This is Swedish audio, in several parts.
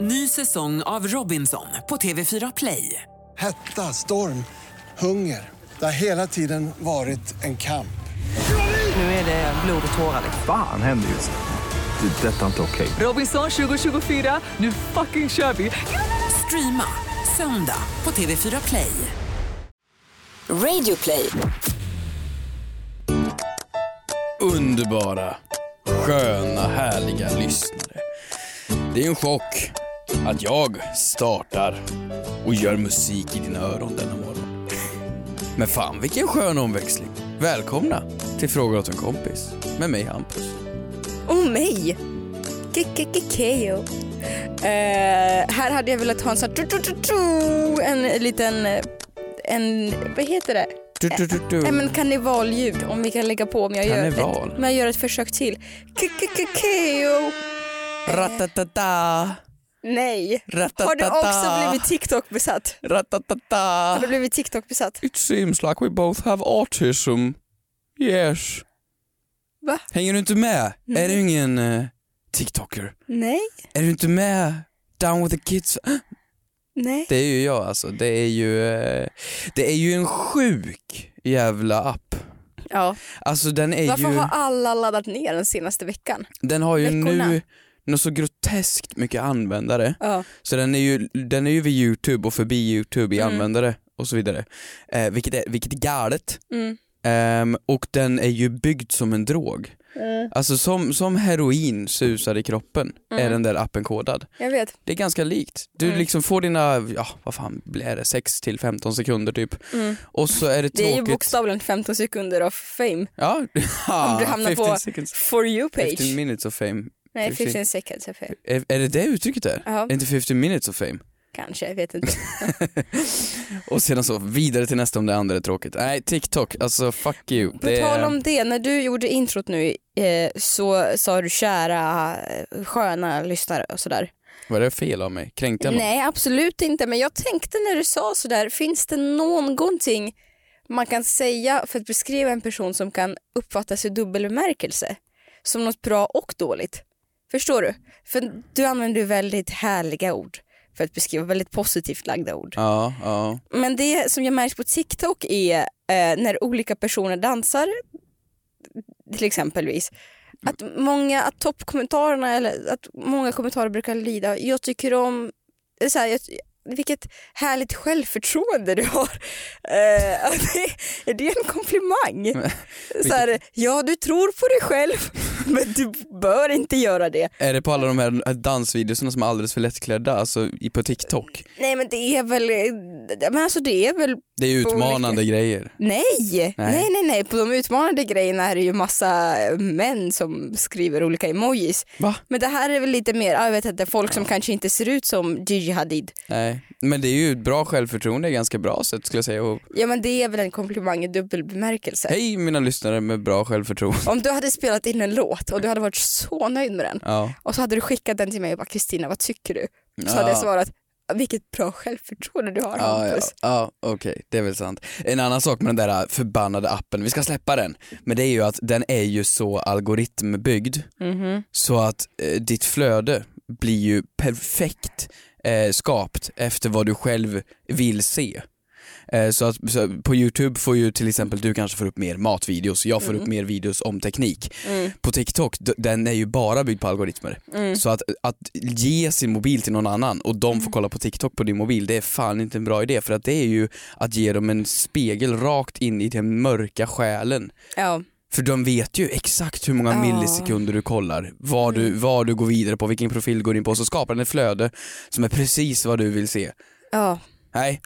Ny säsong av Robinson på TV4 Play. Hetta, storm, hunger. Det har hela tiden varit en kamp. Nu är det blod och tårar. Fan händer just nu. Det. är Detta är inte okej. Robinson 2024, nu fucking kör vi! Streama söndag på TV4 Play. Radio play. underbara, sköna, härliga lyssnare. Det är en chock att jag startar och gör musik i dina öron denna morgon. Men fan vilken skön omväxling. Välkomna till Frågor åt en kompis med mig Hampus. Oh mig! Kekekekeo. Eh, här hade jag velat ha en sån här tru, tru, tru, tru, en liten, eh, en, vad heter det? Du, du, du, du. Nej men karnevalljud om vi kan lägga på om jag gör Karneval. ett, men jag gör ett försök till. Kekekekeo. Ratatata, Nej. ratatata. Har du också blivit TikTok-besatt? ratatata? Har du blivit TikTok-besatt? It seems like we both have autism. Yes. Va? Hänger du inte med? Är du ingen eh, TikToker? Nej. Är du inte med? Down with the kids. Nej. Det är ju jag alltså. Det är ju, eh, det är ju en sjuk jävla app. Ja. Alltså den är Varför ju, har alla laddat ner den senaste veckan? den har ju veckorna? nu något så groteskt mycket användare. Ja. Så den är ju, den är ju vid Youtube och förbi Youtube i Mm. användare och så vidare. Eh, vilket, är, vilket är galet. Mm. Ehm, och den är ju byggd som en drog. Alltså som, som heroin susar i kroppen är Mm. den där appen kodad. Jag vet. Det är ganska likt. Du Mm. liksom får dina, ja vad fan blir det, 6 till 15 sekunder typ. Mm. Och så är det Det är ju tråkigt. bokstavligen 15 sekunder av fame. ja, Ah, Om du hamnar på- seconds. For you-page. 15 minutes of fame. Nej, 15. 15 seconds of fame. Är, är det det uttrycket är? Ja, Är inte 15 minutes of fame? kanske. Jag vet inte. Och sedan så vidare till nästa om det andra är tråkigt. Nej, TikTok, alltså fuck you. På Det- tal om det, när du gjorde introt nu eh, så sa du kära eh, sköna lyssnare och sådär. Var det fel av mig? Kränkte jag någon? Nej, absolut inte. Men jag tänkte när du sa sådär, finns det någonting man kan säga för att beskriva en person som kan uppfattas i dubbel bemärkelse? Som något bra och dåligt. Förstår du? För du använder ju väldigt härliga ord för att beskriva väldigt positivt lagda ord. Ja, ja. Men det som jag märkt på TikTok är eh, när olika personer dansar, till exempelvis, att många, att toppkommentarerna eller att många kommentarer brukar lyda, jag tycker om, eh, så här, jag, vilket härligt självförtroende du har. Eh, att det- är det en komplimang? Så här, ja, du tror på dig själv, men du bör inte göra det. Är det på alla de här dansvideorna som är alldeles för lättklädda, alltså i- på TikTok? Nej, men det är väl, men alltså det är väl Det är ju På utmanande grejer. Nej. nej, nej, nej. På de utmanande grejerna är det ju massa män som skriver olika emojis. Va? Men det här är väl lite mer, ja, jag vet inte, folk som kanske inte ser ut som Gigi Hadid. Nej, men det är ju ett bra självförtroende, ganska bra sätt skulle jag säga. Och, Ja men det är väl en komplimang i dubbel bemärkelse. hej mina lyssnare med bra självförtroende. Om du hade spelat in en låt och du hade varit så nöjd med den Ja. och så hade du skickat den till mig och bara Kristina vad tycker du? Så hade jag svarat vilket bra självförtroende du Ja, har ja, Hampus. ja okej, det är väl sant. En annan sak med den där förbannade appen, vi ska släppa den, men det är ju att den är ju så algoritmbyggd så att eh, ditt flöde blir ju perfekt eh, skapt efter vad du själv vill se. Eh, så att så på Youtube får ju till exempel du kanske får upp mer matvideos, jag får upp mer videos om teknik. På TikTok, d- den är ju bara byggd på algoritmer. Så att, att ge sin mobil till någon annan och de får kolla på TikTok på din mobil, det är fan inte en bra idé för att det är ju att ge dem en spegel rakt in i den mörka själen. Ja. För de vet ju exakt hur många Ja. millisekunder du kollar, vad du, vad du går vidare på, vilken profil du går in på, så skapar den ett flöde som är precis vad du vill se. ja. Nej,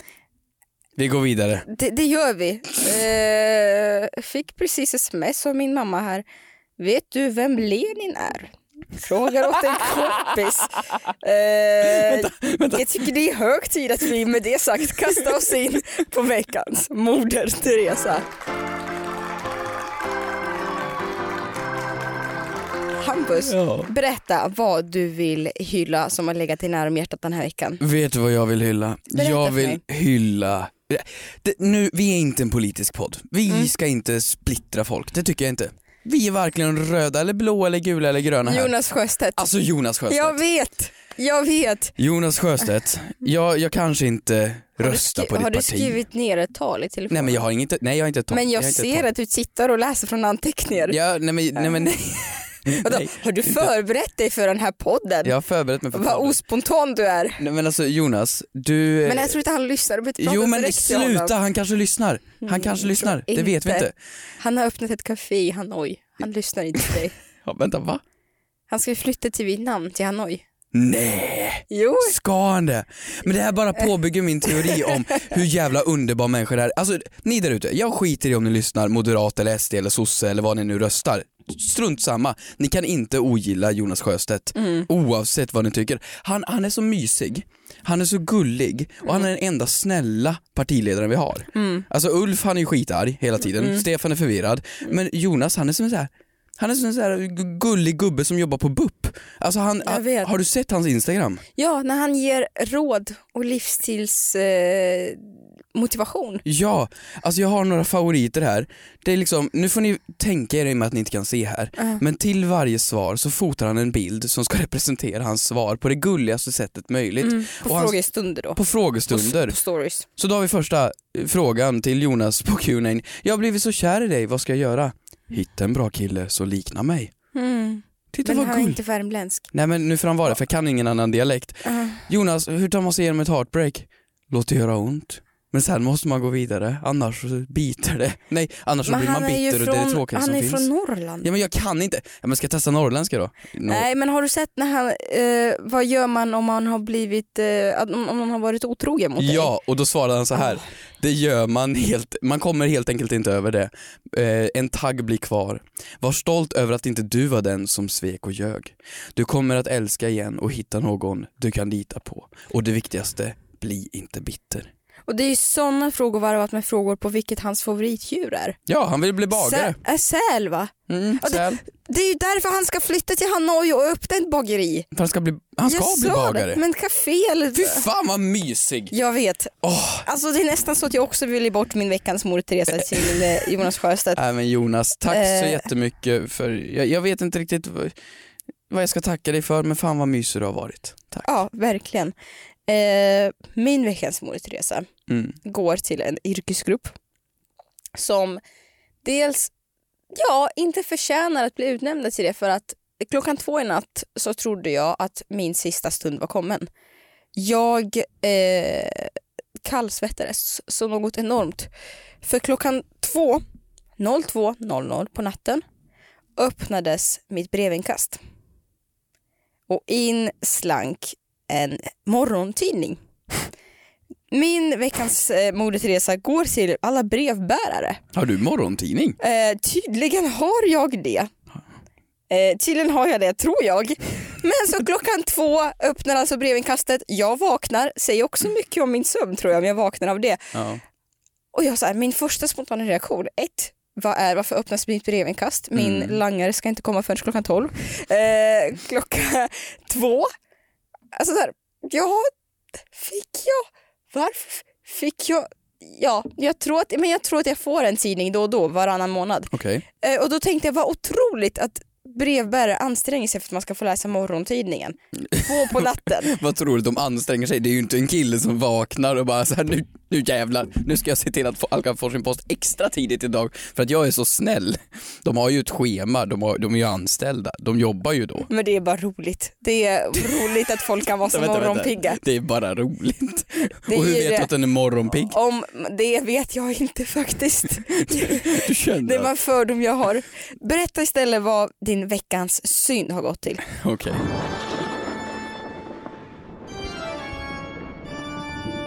vi går vidare. Det, det gör vi. Eh, fick precis sms av min mamma här. Vet du vem Lenin är? Frågar åt en kompis. Eh, Jag tycker det är hög tid att vi med det sagt kastar oss in på veckans Moder Teresa. Hampus, berätta vad du vill hylla som har legat dig nära om hjärtat den här veckan. Vet du vad jag vill hylla? Berätta jag för vill mig. hylla... Det, nu, vi är inte en politisk podd. Vi Mm. ska inte splittra folk, det tycker jag inte. Vi är varken röda eller blå eller gula eller gröna här. Jonas Sjöstedt. Alltså Mm. Jonas Sjöstedt. Jag vet! Jag vet. Jonas Sjöstedt, jag, jag kanske inte Har du röstar skri- på ditt har du parti. skrivit ner ett tal i telefonen? Nej men jag har inget, nej jag har inte ett tal. Men jag, har inte ett ser tal. att du sitter och läser från anteckningar. Ja, nej men, nej, men nej. Vadå, nej, har du inte. förberett dig för den här podden? Jag har förberett mig för Vad podden. ospontan du är. Nej men alltså Jonas, du... Men jag tror inte han lyssnar. Du behöver inte Eh, Jo prata men direkt till honom. Mm, sluta, han kanske lyssnar. Han kanske lyssnar, det vet vi inte. inte. Han har öppnat ett café i Hanoi. Han lyssnar inte på dig. Ja, vänta va? Han ska flytta till Vietnam, till Hanoi. Nej, Jo, ska han det? Men det här bara påbygger min teori om hur jävla underbar människor är. Alltså ni där ute, jag skiter i om ni lyssnar moderat eller SD eller sosse eller vad ni nu röstar. Strunt samma, ni kan inte ogilla Jonas Sjöstedt Mm. oavsett vad ni tycker. Han, han är så mysig, han är så gullig och han är den enda snälla partiledaren vi har. Mm. Alltså Ulf han är ju skitarg hela tiden, Stefan är förvirrad, men Jonas han är som en så här han är som en sån här gu- gullig gubbe som jobbar på BUP. Alltså han, Jag han- vet. har du sett hans instagram? ja, när han ger råd och livstills eh, motivation. Ja, alltså jag har några favoriter här. Det är liksom, nu får ni tänka er i och med att ni inte kan se här, men till varje svar så fotar han en bild som ska representera hans svar på det gulligaste sättet möjligt. Mm, På Och hans- frågestunder då. på På s- frågestunder. På stories. Så då har vi första eh, frågan till Jonas på Q&A. Jag har blivit så kär i dig, vad ska jag göra? Hitta en bra kille så likna mig. Titta Men vad han är gulligt. inte värmländsk. Nej men nu får han vara det för jag kan ingen annan dialekt. Jonas, hur tar man sig igenom ett heartbreak? Låt det göra ont. Men sen måste man gå vidare, annars så biter det. Nej, annars så Men blir man han är ju bitter och det är det från, tråkiga han som är finns. från Norrland. Ja men jag kan inte. Ja, men ska jag testa norrländska då? No. Nej men har du sett när han, eh, vad gör man om man har blivit, eh, att- om, om man har varit otrogen mot dig? Ja, och då svarade han så Ah. här. Det gör man helt, man kommer helt enkelt inte över det. Eh, en tagg blir kvar. Var stolt över att inte du var den som svek och ljög. Du kommer att älska igen och hitta någon du kan lita på. Och det viktigaste, bli inte bitter. Och det är ju sådana frågor varvat med frågor på vilket hans favoritdjur är. Ja, han vill bli bagare. Sä- äh, säl va? Mm, Ja, det- säl. Det är ju därför han ska flytta till Hanoi och öppna ett bageri. För han ska bli, han ska jag bli sa bagare. Det, men café eller... Fy fan vad mysig! Jag vet. Åh, Alltså det är nästan så att jag också vill ge bort min veckans mor Teresa till eh, Jonas Sjöstedt. Nej men Jonas, tack så Eh. jättemycket för, jag, jag vet inte riktigt vad, vad jag ska tacka dig för men fan vad mysig du har varit. Tack. Ja, verkligen. Eh, min veckans mor Teresa Mm. går till en yrkesgrupp som dels ja, inte förtjänar att bli utnämnda till det för att klockan två i natt så trodde jag att min sista stund var kommen. Jag eh, kallsvettades så något enormt. För klockan två, 02.00 på natten öppnades mitt brevinkast. Och in slank en morgontidning. Min veckans eh, Moder Teresa går till alla brevbärare. Har du morgontidning? Eh, tydligen har jag det. Eh, tydligen har jag det, tror jag. Men så klockan två öppnar alltså brevinkastet. Jag vaknar, säger också mycket om min sömn tror jag, men jag vaknar av det. Ja. Och jag så här, min första spontana reaktion, ett, vad är, varför öppnas mitt brevinkast? Min Mm. langare ska inte komma förrän klockan tolv. Eh, klockan två, alltså så här, ja, fick jag, varför fick jag, ja, jag tror att, men jag tror att jag får en tidning då och då, varannan månad. Okej. Eh, och då tänkte jag, vad otroligt att brevbärare anstränger sig för att man ska få läsa morgontidningen. Två på natten. Vad tror du, de anstränger sig? Det är ju inte en kille som vaknar och bara så här, nu, nu jävlar, nu ska jag se till att få- Alkan får sin post extra tidigt idag för att jag är så snäll. De har ju ett schema, de, har, de är ju anställda, de jobbar ju då. Men det är bara roligt. Det är roligt att folk kan vara så Vänta, vänta, vänta. morgonpigga. Det är bara roligt. Det är och hur ju vet det. du att den är morgonpigg? Om det vet jag inte faktiskt. Du känner Det det var en fördom jag har. Berätta istället vad din veckans synd har gått till. Okej.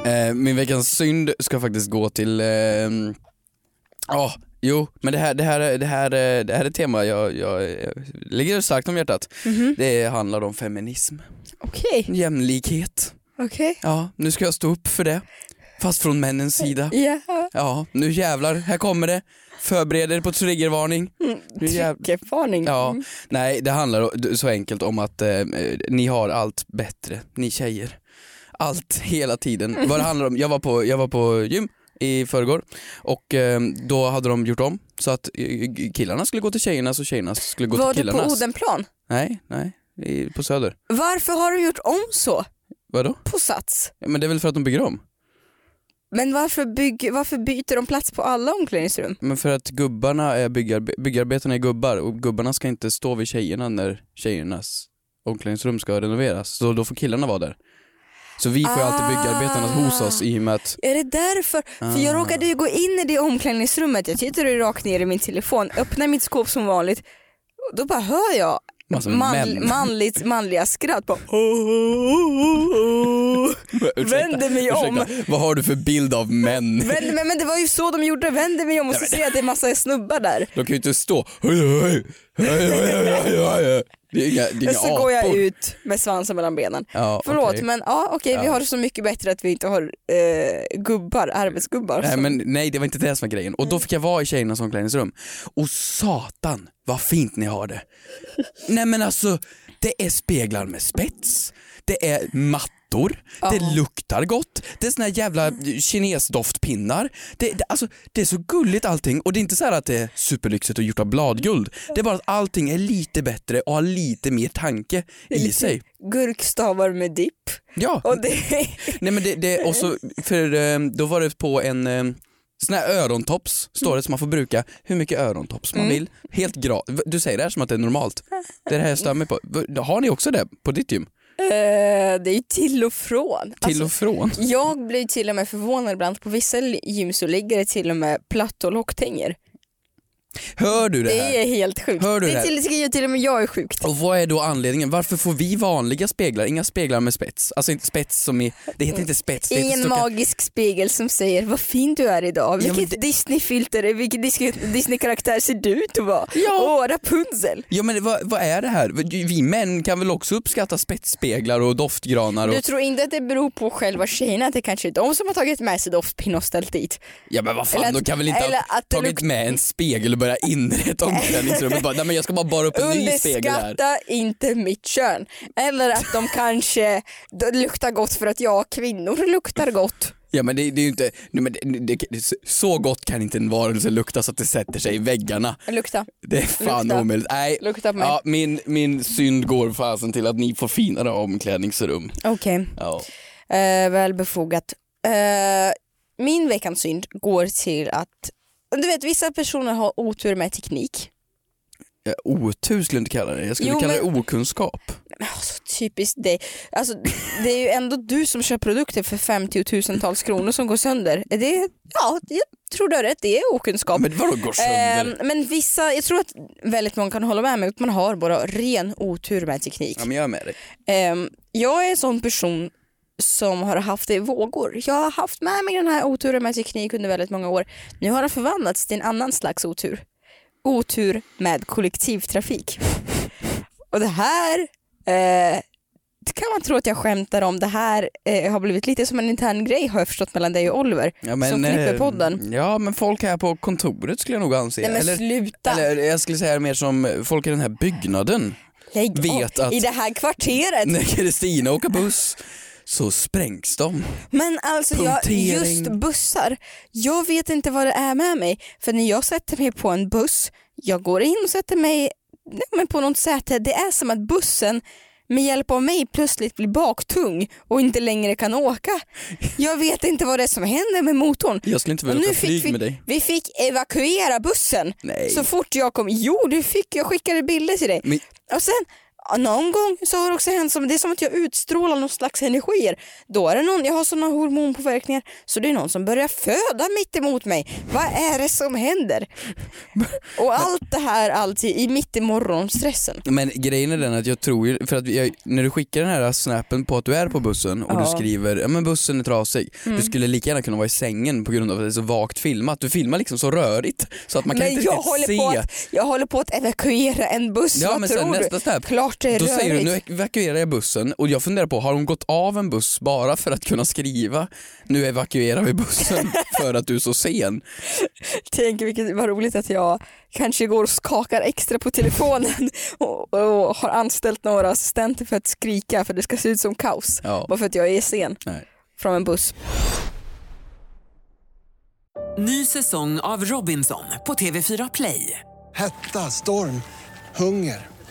Eh, min veckans synd ska faktiskt gå till... Ja, eh, ah, jo, men det här, det här, är- det här, är- det här är ett tema jag, jag, jag ligger starkt om hjärtat. Det handlar om feminism, Okej. jämlikhet. Okej. Ja, nu ska jag stå upp för det. Fast från männens Mm. sida. Ja. Ja, nu jävlar, här kommer det. Förbered er på triggervarning. Nu jäv- Tryckervarning. Ja, nej det handlar så enkelt om att eh, ni har allt bättre, ni tjejer. Allt, hela tiden. Mm. Vad det handlar om, jag var på, jag var på gym i förrgår och eh, då hade de gjort om så att eh, killarna skulle gå till tjejernas och tjejernas skulle gå Var till du på killarnas. Odenplan? nej, nej. i, på Söder. Varför har de gjort om så Vadå? på Sats? Ja, men det är väl för att de bygger om? Men varför, bygg, varför byter de plats på alla omklädningsrum? Men för att gubbarna är byggar, byggarbetarna är gubbar och gubbarna ska inte stå vid tjejerna när tjejernas omklädningsrum ska renoveras. Så då får killarna vara där. Så vi får ju Ah. alltid byggarbetarnas hos oss i och med att Är det därför? För Ah. jag råkade ju gå in i det omklädningsrummet, jag tittade ju rakt ner i min telefon, öppnade mitt skåp som vanligt och då bara hör jag Massa man, alltså, män. manligt, manliga skratt. Bara, "Oh, oh, oh, oh." Vänder mig om. Ursäkta, vad har du för bild av män? Vänder mig, men det var ju så de gjorde, vänder mig om och så ser jag att det är massa snubbar där. De kan ju inte stå hej hej, hej hej hej hej hej. Det är inga, det är inga Så går jag apor. ut med svansen mellan benen. Ja, Förlåt okej. men ja, okej vi Ja. har det så mycket bättre att vi inte har eh, gubbar, arbetsgubbar. Nej, som- men, nej det var inte det som var grejen. Och då fick jag vara i tjejernas omklädningsrum. Och satan vad fint ni har det. nej men alltså det är speglar med spets, det är mattor, det luktar gott, det är såna här jävla kinesdoftpinnar. Det, det, alltså, det är så gulligt allting och det är inte så här att det är superlyxigt och gjort av bladguld. Det är bara att allting är lite bättre och har lite mer tanke i sig. Gurkstavar med dipp. Ja, Och det, Nej men det, det och så, för eh, då var det på en eh, sån här örontops, står det, som man får bruka hur mycket örontops Mm. man vill. Helt gratis. Du säger det här som att det är normalt. Det är det här jag stör mig på. V- Har ni också det på ditt gym? eh, det är ju till och från. Alltså, Till och från? Jag blir till och med förvånad ibland, på vissa gym så ligger det till och med platt och locktänger. Hör du det Det här? är helt sjukt. Hör du det det är här? till, tycker jag till och med jag är sjukt. Och vad är då anledningen? Varför får vi vanliga speglar, inga speglar med spets? Alltså inte spets som i, det heter inte spets, det heter Ingen stucka- magisk spegel som säger vad fin du är idag, Ja, men vilket Disney-filter, är- vilken Dis- Disney-karaktär ser du ut att vara? Ja. Åh, Rapunzel. Ja men vad, vad är det här? Vi män kan väl också uppskatta spetsspeglar och doftgranar och... Du tror inte att det beror på själva tjejerna, att det kanske är de som har tagit med sig doftpinne och ställt dit? Ja men vad fan, Eller att- de kan väl inte eller ha att det tagit luk- med en spegel och börjat inreda omklädningsrummet bara, nej men jag ska bara bara upp en ny spegel här. Underskatta inte mitt kön. Eller att de kanske de luktar gott för att jag kvinnor luktar gott. Ja men det, det är ju inte, nej, men det, det, det, så gott kan inte en varelse lukta så att det sätter sig i väggarna. Lukta. Det är fan Lukta. omöjligt. Nej. Lukta på mig. Ja, min, min synd går fasen till att ni får finare omklädningsrum. Okej, Ja. eh, väl befogat. Eh, min veckans synd går till att, du vet vissa personer har otur med teknik. Ja, Otur skulle jag inte kalla det, jag skulle Jo, kalla men- det okunskap. Men alltså, typiskt dig. Alltså, det är ju ändå du som köper produkter för 50 och tusentals kronor som går sönder. Det, ja, jag tror du har rätt, det är okunskap. Men vadå går sönder? Ehm, men vissa, jag tror att väldigt många kan hålla med mig att man har bara ren otur med teknik. Ja men jag är med dig. Ehm, jag är en sån person som har haft det i vågor. Jag har haft med mig den här oturen med teknik under väldigt många år. Nu har den förvandlats till en annan slags otur. Otur med kollektivtrafik. Och det här eh, det kan man tro att jag skämtar om. Det här eh, har blivit lite som en intern grej har jag förstått mellan dig och Oliver Ja, men, som klipper eh, podden. Ja men folk här på kontoret skulle jag nog anse. Nej men Eller- sluta! Eller jag skulle säga mer som folk i den här byggnaden. Lägg vet av. att- I det här kvarteret. När Kristina åker buss så sprängs de. Men alltså jag, Punktering. just bussar, jag vet inte vad det är med mig. För när jag sätter mig på en buss, jag går in och sätter mig nej, men på något säte, det är som att bussen med hjälp av mig plötsligt blir baktung och inte längre kan åka. Jag vet inte vad det är som händer med motorn. Jag skulle inte vilja Och åka nu fick flyg vi, med dig. Vi fick evakuera bussen Nej. så fort jag kom. Jo, du fick, jag skickade bilder till dig. Men- Och sen ja, någon gång så har det också hänt som, det är som att jag utstrålar någon slags energier. Då är det någon, jag har sådana hormonpåverkningar, så det är någon som börjar föda mitt emot mig. Vad är det som händer? Och allt det här alltid i mitt i morgonstressen. Men grejen är den att jag tror ju, för att jag, när du skickar den här snappen på att du är på bussen och du skriver ja men bussen är trasig, Mm. du skulle lika gärna kunna vara i sängen på grund av att det är så vagt filmat. Du filmar liksom så rörigt så att man kan Men inte jag riktigt håller, se. på att, jag håller på att evakuera en buss, Ja vad men tror sen du? nästa snap, Klart det är då rörigt. säger du nu evakuerar jag bussen och jag funderar på har hon gått av en buss bara för att kunna skriva nu evakuerar vi bussen för att du är så sen. Tänk vilket vad roligt att jag kanske går och skakar extra på telefonen och, och har anställt några assistenter för att skrika för det ska se ut som kaos. Ja. Bara för att jag är sen Nej. från en buss. Ny säsong av Robinson på TV4 Play. Hetta, storm, hunger.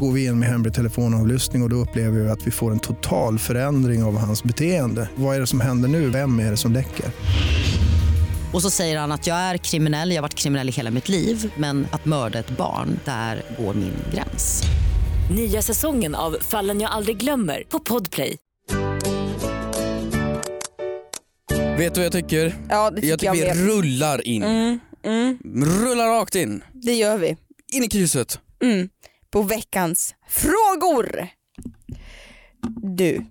Går vi in med hemlig telefonavlyssning och, och då upplever vi att vi får en total förändring av hans beteende. Vad är det som händer nu? Vem är det som läcker? Och så säger han att jag är kriminell, jag har varit kriminell i hela mitt liv men att mörda ett barn, där går min gräns. Nya säsongen av Fallen jag aldrig glömmer på Podplay. Vet du vad jag tycker? Ja, det tycker jag jag, tycker Mm. vi med. rullar in. Rullar rakt in. Det gör vi. In i krysset. Mm. På veckans frågor. Du,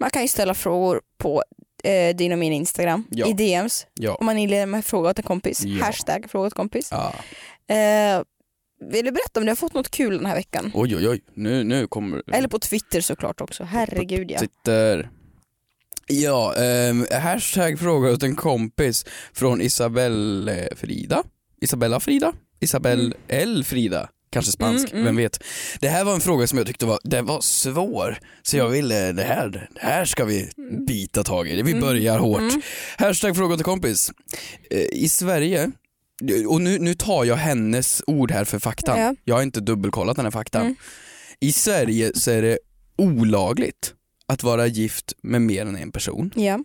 man kan ju ställa frågor på eh, din och min Instagram Ja. i DMs. Ja. Om man inleder med fråga åt en kompis. Ja. Hashtag fråga åt kompis. ja. Eh, vill du berätta om du har fått något kul den här veckan? Oj oj oj, nu, nu kommer Eller på Twitter såklart också. Herregud ja. Mm. Twitter. Ja, ehm, hashtag fråga åt en kompis från Isabel eh, Frida. Isabella Frida? Isabel Mm. L Frida? Kanske spansk, vem vet. Det här var en fråga som jag tyckte var, den var svår. Så Mm. jag ville, det här, det här ska vi bita tag i. Vi Mm. börjar hårt. Hashtag fråga åt en kompis. Eh, I Sverige, och nu, nu tar jag hennes ord här för faktan. Ja. Mm. Jag har inte dubbelkollat den här faktan. I Sverige så är det olagligt att vara gift med mer än en person. ja.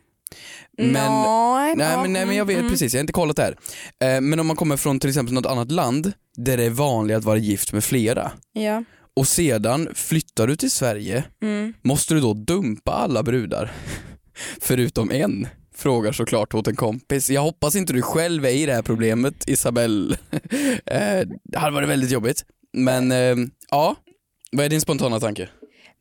Men- nej, Nej, ja, men, nej men jag mm, vet mm. precis, jag har inte kollat det här. Eh, men om man kommer från till exempel något annat land där det är vanligt att vara gift med flera Ja. och sedan flyttar du till Sverige, Mm. måste du då dumpa alla brudar? Förutom en, frågar såklart åt en kompis. Jag hoppas inte du själv är i det här problemet Isabelle. eh, det hade varit väldigt jobbigt. Men eh, ja, vad är din spontana tanke?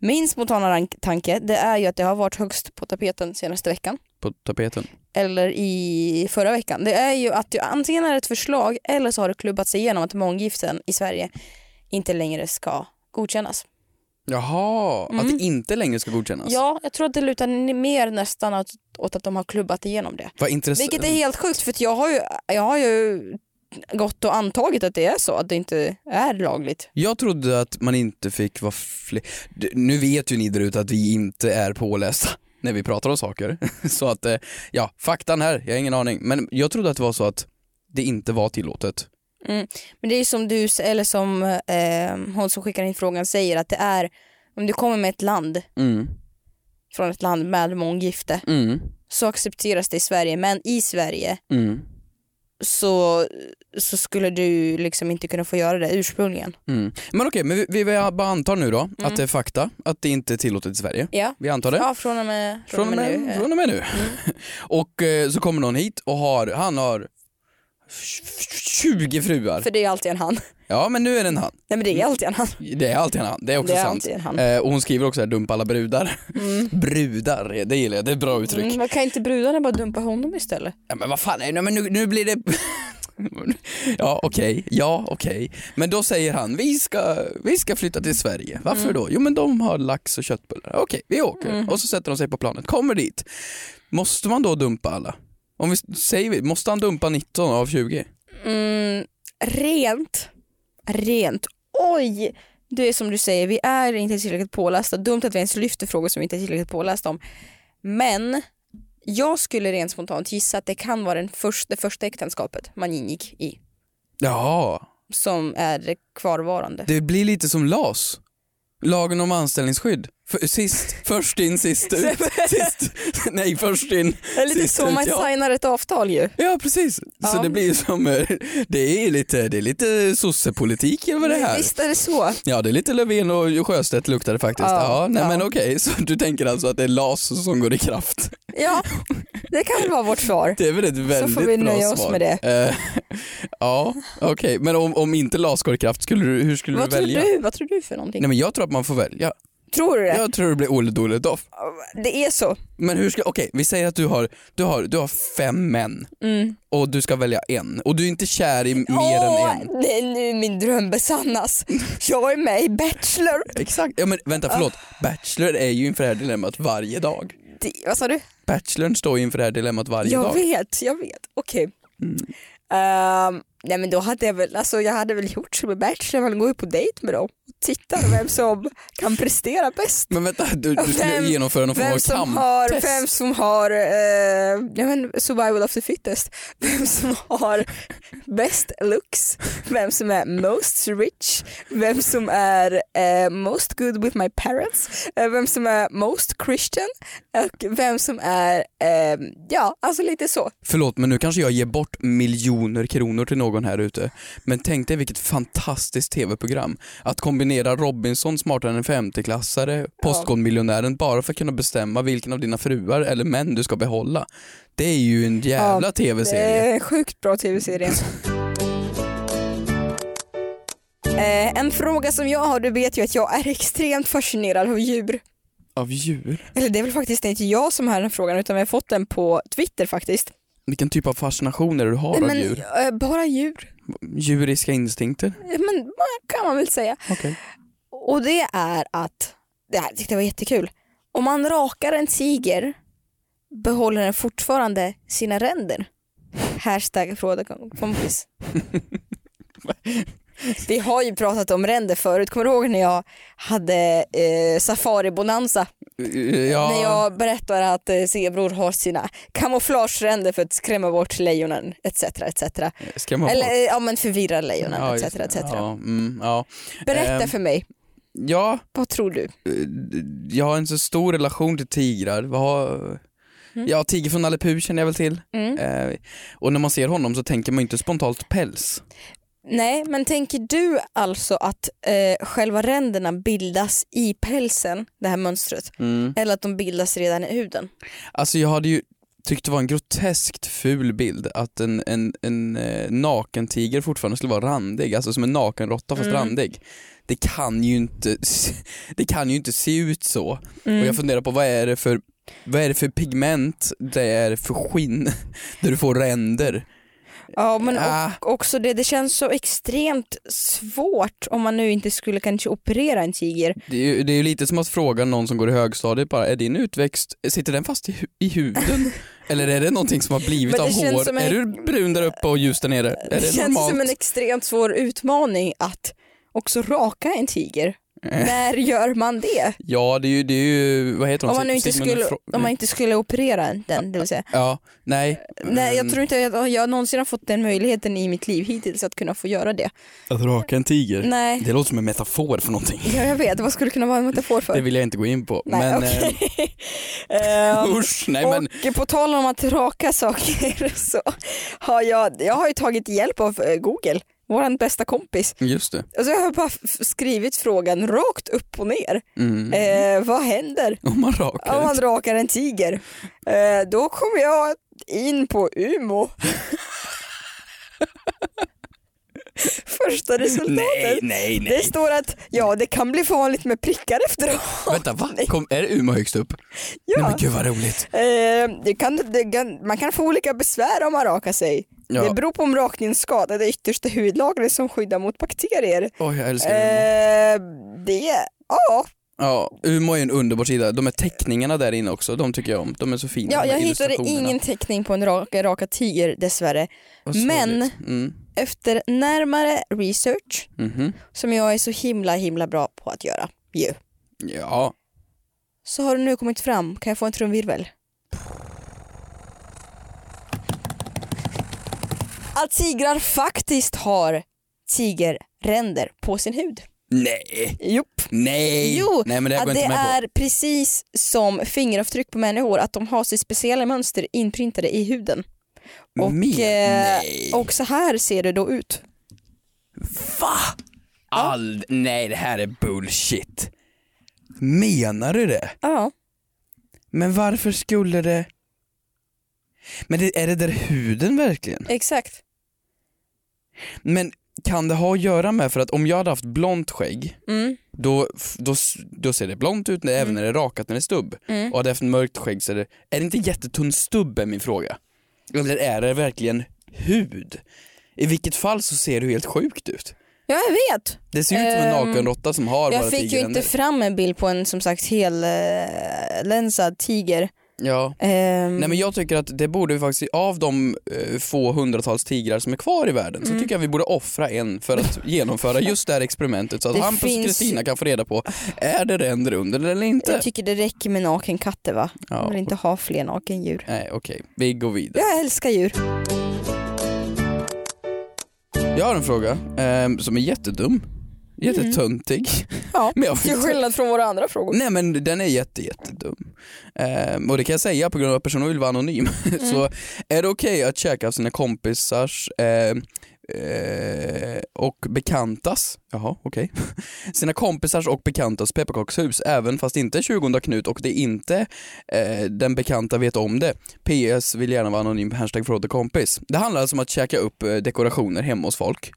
Min spontana rank- tanke det är ju att det har varit högst på tapeten senaste veckan. På tapeten? eller i förra veckan. Det är ju att du antingen är ett förslag eller så har det klubbats igenom att månggiften i Sverige inte längre ska godkännas. Jaha, att Mm. det inte längre ska godkännas? Ja, jag tror att det lutar ni- mer nästan åt, åt att de har klubbat igenom det. Vad intressant. Vilket är helt sjukt för att jag har ju, jag har ju gått och antagit att det är så, att det inte är lagligt. Jag trodde att man inte fick vara fler... Nu vet ju ni där ute att vi inte är pålästa när vi pratar om saker. Så att, eh, ja, faktan här, jag har ingen aning. Men jag trodde att det var så att det inte var tillåtet. Men det är ju som du, s- eller som eh, hon som skickar in frågan säger, att det är om du kommer med ett land, Mm. från ett land med månggifte, Mm. så accepteras det i Sverige, men i Sverige Mm. så, så skulle du liksom inte kunna få göra det ursprungligen. Mm. Men okej, men vi, vi bara antar nu då att det är fakta, att det inte är tillåtet i Sverige. Ja, Vi antar det. ja från och med, Från och med, nu. Från och med nu. Mm. och eh, så kommer någon hit och har, han har 20 fruar. För det är alltid en han. Ja men nu är det en han. Nej men det är alltid en han. Det är alltid en han, det är också Det är sant. alltid en han. Eh, och hon skriver också här, dumpa alla brudar. brudar, det gillar jag, det är ett bra uttryck. Mm, man kan inte brudarna bara dumpa honom istället? Ja, men vad fan, är det? nej, men nu, nu blir det... ja okej, ja okej. Men då säger han, vi ska, vi ska flytta till Sverige. Varför Mm. då? Jo men de har lax och köttbullar. Okej, vi åker. Och så sätter de sig på planet, kommer dit. Måste man då dumpa alla? Om vi säger, vi, måste han dumpa 19 av 20? Mm, rent. Rent. Oj! Det är som du säger, vi är inte tillräckligt pålästa. Dumt att vi ens lyfter frågor som vi inte är tillräckligt pålästa om. Men jag skulle rent spontant gissa att det kan vara den första, det första äktenskapet man ingick i Jaha, som är det kvarvarande. det blir lite som LAS. Lagen om anställningsskydd. För, sist, först in, sist ut. Sist, nej, först in, Det är lite sist så ut. man ja. signar ett avtal ju. Ja precis, så Ja. det blir ju som, eh, det är lite, det är lite sossepolitik över det här. Visst är det så. Ja det är lite Löfven och Sjöstedt luktar det faktiskt. Ja, Ja, nej ja. men okej, så du tänker alltså att det är LAS som går i kraft. Ja, det kan väl vara vårt svar. Det är väl ett väldigt bra svar. vi nöja oss med det. ja, okej, men om, om inte LAS går i kraft, skulle du, hur skulle Vad du tror välja? du? Vad tror du för någonting? Nej men jag tror att man får välja. Tror du det? Jag tror det blir Olle Doledoff. Det är så. Men hur ska, okej vi säger att du har, du har, du har fem män Mm. och du ska välja en och du är inte kär i mer än en. det är nu min dröm besannas. Jag är med i Bachelor. Ah. Exakt, ja men vänta förlåt. Bachelor är ju inför det här dilemmat varje dag. det, vad sa du? Bachelorn står ju inför det Mm. här dilemmat varje jag dag. vet, jag vet. Okej. Ehm, nej men då hade jag väl, alltså jag hade väl gjort som med Bachelor, man går ju på dejt med dem och tittar vem som kan prestera bäst. Men vänta, du, du skulle Vem- genomföra någon form av Vem som, har, kamptest. vem som har eh, ja, men survival of the fittest, vem som har bäst looks, vem som är most rich, vem som är eh, most good with my parents, eh, vem som är most Christian och vem som är, eh, ja alltså lite så. Förlåt men nu kanske jag ger bort miljoner kronor till någon här ute. Men tänk dig vilket fantastiskt tv-program. Att kombinera Robinson smartare än en 50-klassare, Postkodmiljonären bara för att kunna bestämma vilken av dina fruar eller män du ska behålla. Det är ju en jävla Ja, Det tv-serie. är en sjukt bra tv-serie. Eh, en fråga som jag har, du vet ju att jag är extremt fascinerad av djur. Av djur? Eller det är väl faktiskt inte jag som har den frågan utan vi har fått den på Twitter faktiskt. Vilken typ av fascination är det du har av men, djur? eh, bara djur. Djuriska instinkter? Eh, Men eh, kan man väl säga. Okej. Och det är att, det här tyckte jag var jättekul. Om man rakar en tiger behåller den fortfarande sina ränder. Hashtag fråga kompis. Vi har ju pratat om ränder förut. Kommer du ihåg när jag hade eh, safari-bonanza? Ja, När jag berättar att eh, zebror har sina kamouflageränder för att skrämma bort lejonen etc. etc. skrämma bort. Eller eh, ja, men förvirra lejonen Ja, etc. just det. etc. Ja, mm, ja. Berätta Ehm. för mig, ja, vad tror du? jag har en så stor relation till tigrar. Vad har... Ja, tiger från Nalle Puh känner jag väl till. Mm. Eh, och när man ser honom så tänker man ju inte spontant päls. Nej, men tänker du alltså att eh, själva ränderna bildas i pälsen, det här mönstret, eller att de bildas redan i huden? Alltså jag hade ju tyckt det var en groteskt ful bild att en, en, en eh, naken tiger fortfarande skulle vara randig, alltså som en nakenråtta fast randig. Det kan, ju inte, det kan ju inte se ut så. Mm. Och jag funderar på vad är det för vad är det för pigment, det är för skinn, där du får ränder? Ja, men Ah. och, också det, det känns så extremt svårt om man nu inte skulle kanske operera en tiger. Det är, ju, det är ju lite som att fråga någon som går i högstadiet bara, är din utväxt, sitter den fast i, hu- i huden? Eller är det någonting som har blivit Men av det känns hår? som en- Är du brun där uppe och ljus där nere? Är det, Det, känns normalt? som en extremt svår utmaning att också raka en tiger. Eh. När gör man det? Ja, det är ju, det är ju vad heter de? Om man, nu inte Sigmund skulle, Fro- om man inte skulle operera den, det vill säga. Ja, nej. Nej, mm. jag tror inte jag, jag någonsin har fått den möjligheten i mitt liv hittills att kunna få göra det. Att raka en tiger? Nej. Det låter som en metafor för någonting. Ja, jag vet, vad skulle det kunna vara en metafor Det för? vill jag inte gå in på. Nej, men okej. eh, Ehm, usch, nej men Och på tal om att raka saker så har jag, jag har ju tagit hjälp av eh, Google, vår bästa kompis. eh, just det. Alltså jag har bara f- skrivit frågan rakt upp och ner. Mm. Eh, vad händer Om man rakar om en man tiger. rakar en tiger? Eh, då kommer jag in på Umo. Första Nej, resultatet. nej, nej. Det står att ja, det kan bli farligt med prickar efteråt. Vänta, va? Kom, är det Umeå högst upp? Nej men gud vad roligt. Eh, det kan, det kan, man kan få olika besvär om man rakar sig. Ja. Det beror på om rakningen skadar det yttersta hudlagret som skyddar mot bakterier. Oj, jag älskar Umeå. Eh, det, ja, Ja, Umeå är en underbar sida. De här teckningarna där inne också, de tycker jag om. De är så fina. ja, de här jag hittade illustrationerna. ingen teckning på en rak, raka tiger dessvärre. Vad sorgligt. men- Mm. Efter närmare research, Mhm. som jag är så himla himla bra på att göra, ju, Ja, så har du nu kommit fram, kan jag få en trumvirvel? Att tigrar faktiskt har tigerränder på sin hud. nej, Jopp. nej. Jo, nej, men det här att går jag det inte med på. är precis som fingeravtryck på människor, att de har sitt speciella mönster inprintade i huden. Och, Mer? eh, Nej. och så här ser det då ut. Va? All... Nej, det här är bullshit. Menar du det? Ja. Men varför skulle det... Men det, är det där huden verkligen? Exakt. Men kan det ha att göra med, för att om jag hade haft blont skägg, Mm. då, f- då, s- då ser det blont ut när, även när det är rakat när det är stubb. mm. Och hade jag haft mörkt skägg så är det... Är det inte jättetunn stubb är min fråga? Eller är det verkligen hud? I vilket fall så ser du helt sjukt ut. Ja, jag vet. Det ser ju ut som en Ehm, nakenråtta som har bara Jag fick ju tigerränder. inte fram en bild på en som sagt hellänsad eh, tiger. Ja. Ehm, Nej men jag tycker att det borde vi faktiskt, av de eh, få hundratals tigrar som är kvar i världen Mm. så tycker jag vi borde offra en för att genomföra just det här experimentet så att Det Hampus och finns- Kristina kan få reda på, är det ren rundel eller inte? jag tycker det räcker med nakenkatter va? Ja. Jag vill inte ha fler nakendjur. Nej okej, vi går vidare. Jag älskar djur. Jag har en fråga ehm, som är jättedum, jättetöntig. Mm. Ja, Men jag får inte- från våra andra frågor. Nej men den är jätte, jättedum. Ehm, och det kan jag säga på grund av att personen vill vara anonym. så Mm. är det okej att käka av sina kompisars ehm, eh, och bekantas, jaha okej, sina kompisars och bekantas pepparkakshus även fast det inte är 20 Knut och det är inte eh, den bekanta vet om det. PS vill gärna vara anonym, hashtag förlåt och kompis. Det handlar alltså om att käka upp eh, dekorationer hemma hos folk.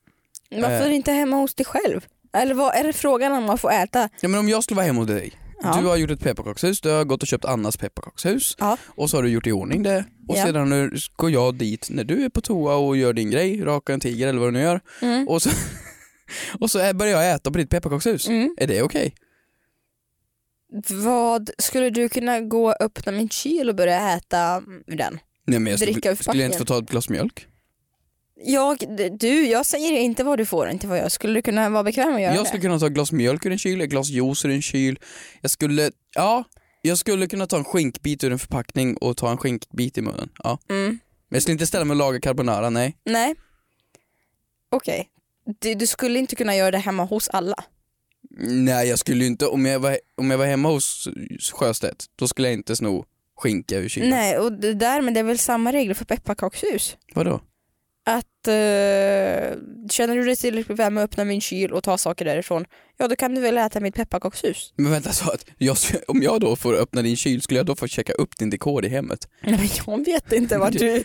Varför Eh. inte hemma hos dig själv? Eller vad är det frågan om man får äta? Ja men om jag skulle vara hemma hos dig, Ja. du har gjort ett pepparkakshus, du har gått och köpt Annas pepparkakshus Ja. och så har du gjort i ordning det och Ja. sedan nu går jag dit när du är på toa och gör din grej, rakar en tiger eller vad du nu gör Mm. och så, och så är- börjar jag äta på ditt pepparkakshus. Mm. Är det okej? Vad skulle du kunna gå och öppna min kyl och börja äta ur den? Nej men jag Dricka ur skulle, skulle jag inte få förpackningen. ta ett glas mjölk? Jag, d- du, jag säger inte vad du får och inte vad jag skulle du kunna vara bekväm med att göra Jag skulle kunna ta ett glas mjölk ur en kyl, ett glas juice ur en kyl. Jag skulle, ja, jag skulle kunna ta en skinkbit ur en förpackning och ta en skinkbit i munnen. Ja. det. Mm. Men jag skulle inte ställa mig och laga carbonara, nej. Nej. Okej. Du, du skulle inte kunna göra det hemma hos alla. Nej jag skulle ju inte, om jag var, om jag var hemma hos Sjöstedt då skulle jag inte sno skinka ur kylen. Nej, och det där men det är väl samma regler för pepparkakshus. Vadå? Att eh, känner du dig tillräckligt bekväm med att öppna min kyl och ta saker därifrån, ja då kan du väl äta mitt pepparkakshus. Men vänta, så att jag, om jag då får öppna din kyl, skulle jag då få checka upp din dekor i hemmet? Nej, men jag vet inte vart du,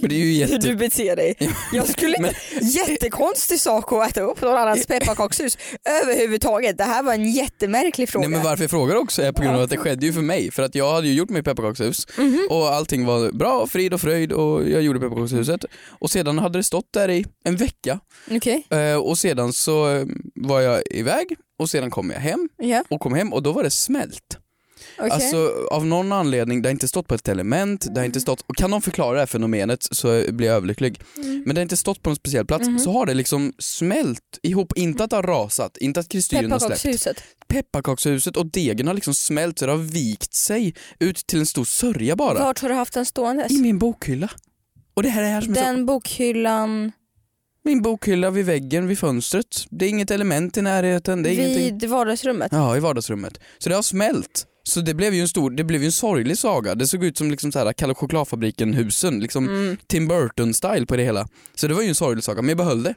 Men det är ju hur jätte... du beter dig. Jag skulle inte, jättekonstig sak att äta upp någon annans pepparkakshus överhuvudtaget. Det här var en jättemärklig fråga. Nej men varför jag frågar också är på grund av att det skedde ju för mig, för att jag hade ju gjort mitt pepparkakshus Mhm. och allting var bra, frid och fröjd och jag gjorde pepparkakshuset och sedan hade det stått där i en vecka Okej, Eh, och sedan så eh, var jag iväg och sedan kom jag hem ja, och kom hem och då var det smält. okej. Alltså av någon anledning, det har inte stått på ett element, det har Mm. inte stått, och kan någon förklara det här fenomenet så blir jag överlycklig. Mm. Men det har inte stått på en speciell plats, Mm-hmm. så har det liksom smält ihop, inte att det har rasat, inte att kristyren har släppt. Pepparkakshuset. Pepparkakshuset och degen har liksom smält så det har vikt sig ut till en stor sörja bara. Vart har du haft den ståendes? I min bokhylla. Och det här är det här som är så, Den bokhyllan min bokhylla vid väggen, vid fönstret. Det är inget element i närheten, det är ingenting. vid vardagsrummet. Ja, i vardagsrummet. Så det har smält. Så det blev ju en stor, det blev ju en sorglig saga. Det såg ut som liksom så här Kalle Chokladfabriken-husen, liksom Tim Burton-style på det hela. Så det var ju en sorglig saga, men jag behöll det.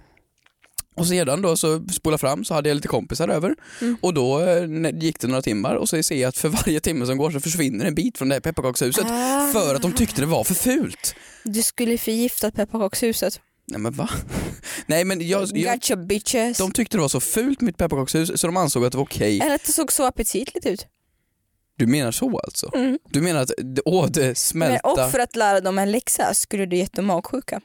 Och sedan då så spola fram så hade jag lite kompisar över och då eh, när- gick det några timmar och så ser jag att för varje timme som går så försvinner en bit från det här pepparkakshuset Ah. för att de tyckte det var för fult. Du skulle förgifta pepparkakshuset. Nej men va? Nej men jag, alltså, jag, Gotcha bitches. de tyckte det var så fult mitt pepparkakshus så de ansåg att det var okej. Eller att det såg så aptitligt ut. Du menar så alltså? Du menar att det- åh, det Men, smälta... och för att lära dem en läxa skulle du gett dem magsjuka.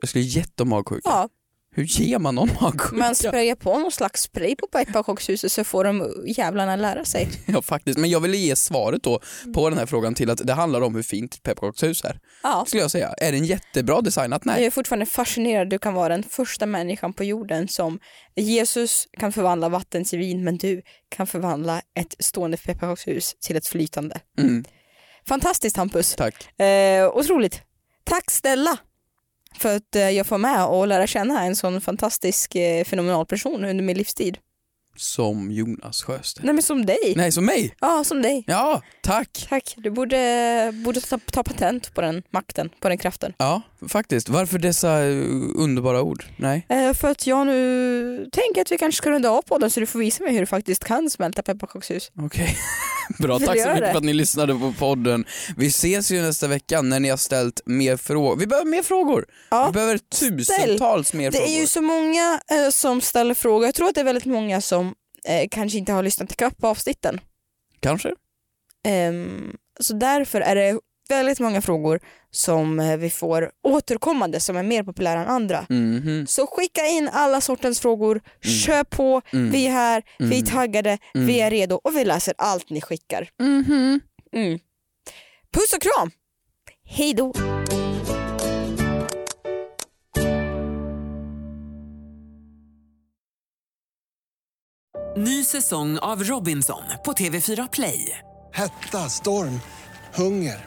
Jag skulle gett dem magsjuka. Ja, Hur ger man någon magsjuka? Man sprayar på någon slags spray på pepparkakshuset så får de jävlarna lära sig. Ja, faktiskt. Men jag ville ge svaret då på den här frågan till att det handlar om hur fint ett pepparkakshus är. Ja. Skulle jag säga. Är den jättebra designat? Jag Nej. är fortfarande fascinerad, du kan vara den första människan på jorden som Jesus kan förvandla vatten till vin men du kan förvandla ett stående pepparkakshus till ett flytande. Mm. Fantastiskt Hampus, Tack. eh, otroligt. Tack snälla för att eh, jag får med och lära känna en sån fantastisk eh, fenomenal person under min livstid. Som Jonas Sjöstedt. Nej men som dig, Nej, som mig. ja som dig. Ja, tack. Tack, du borde, borde ta, ta patent på den makten, på den kraften. Ja, faktiskt. Varför dessa eh, underbara ord? Nej. Eh, för att jag nu tänker att vi kanske ska runda av podden så du får visa mig hur du faktiskt kan smälta pepparkakshus. Okej. Bra, Vill tack så göra mycket det? för att ni lyssnade på podden. Vi ses ju nästa vecka när ni har ställt mer frågor. Vi behöver mer frågor. Ja. Vi behöver tusentals mer Det frågor. är ju så många eh, som ställer frågor. Jag tror att det är väldigt många som eh, kanske inte har lyssnat ikapp på avsnitten. Kanske. Ehm, så därför är det väldigt många frågor som eh, vi får återkommande som är mer populära än andra. Mhm. Så skicka in alla sortens frågor, kör på, Mm. vi är här, vi Mm-hmm. är taggade, vi är redo och vi läser allt ni skickar. Mm. Puss och kram! Hej då! Ny säsong av Robinson på TV4 Play. Hetta, storm, hunger.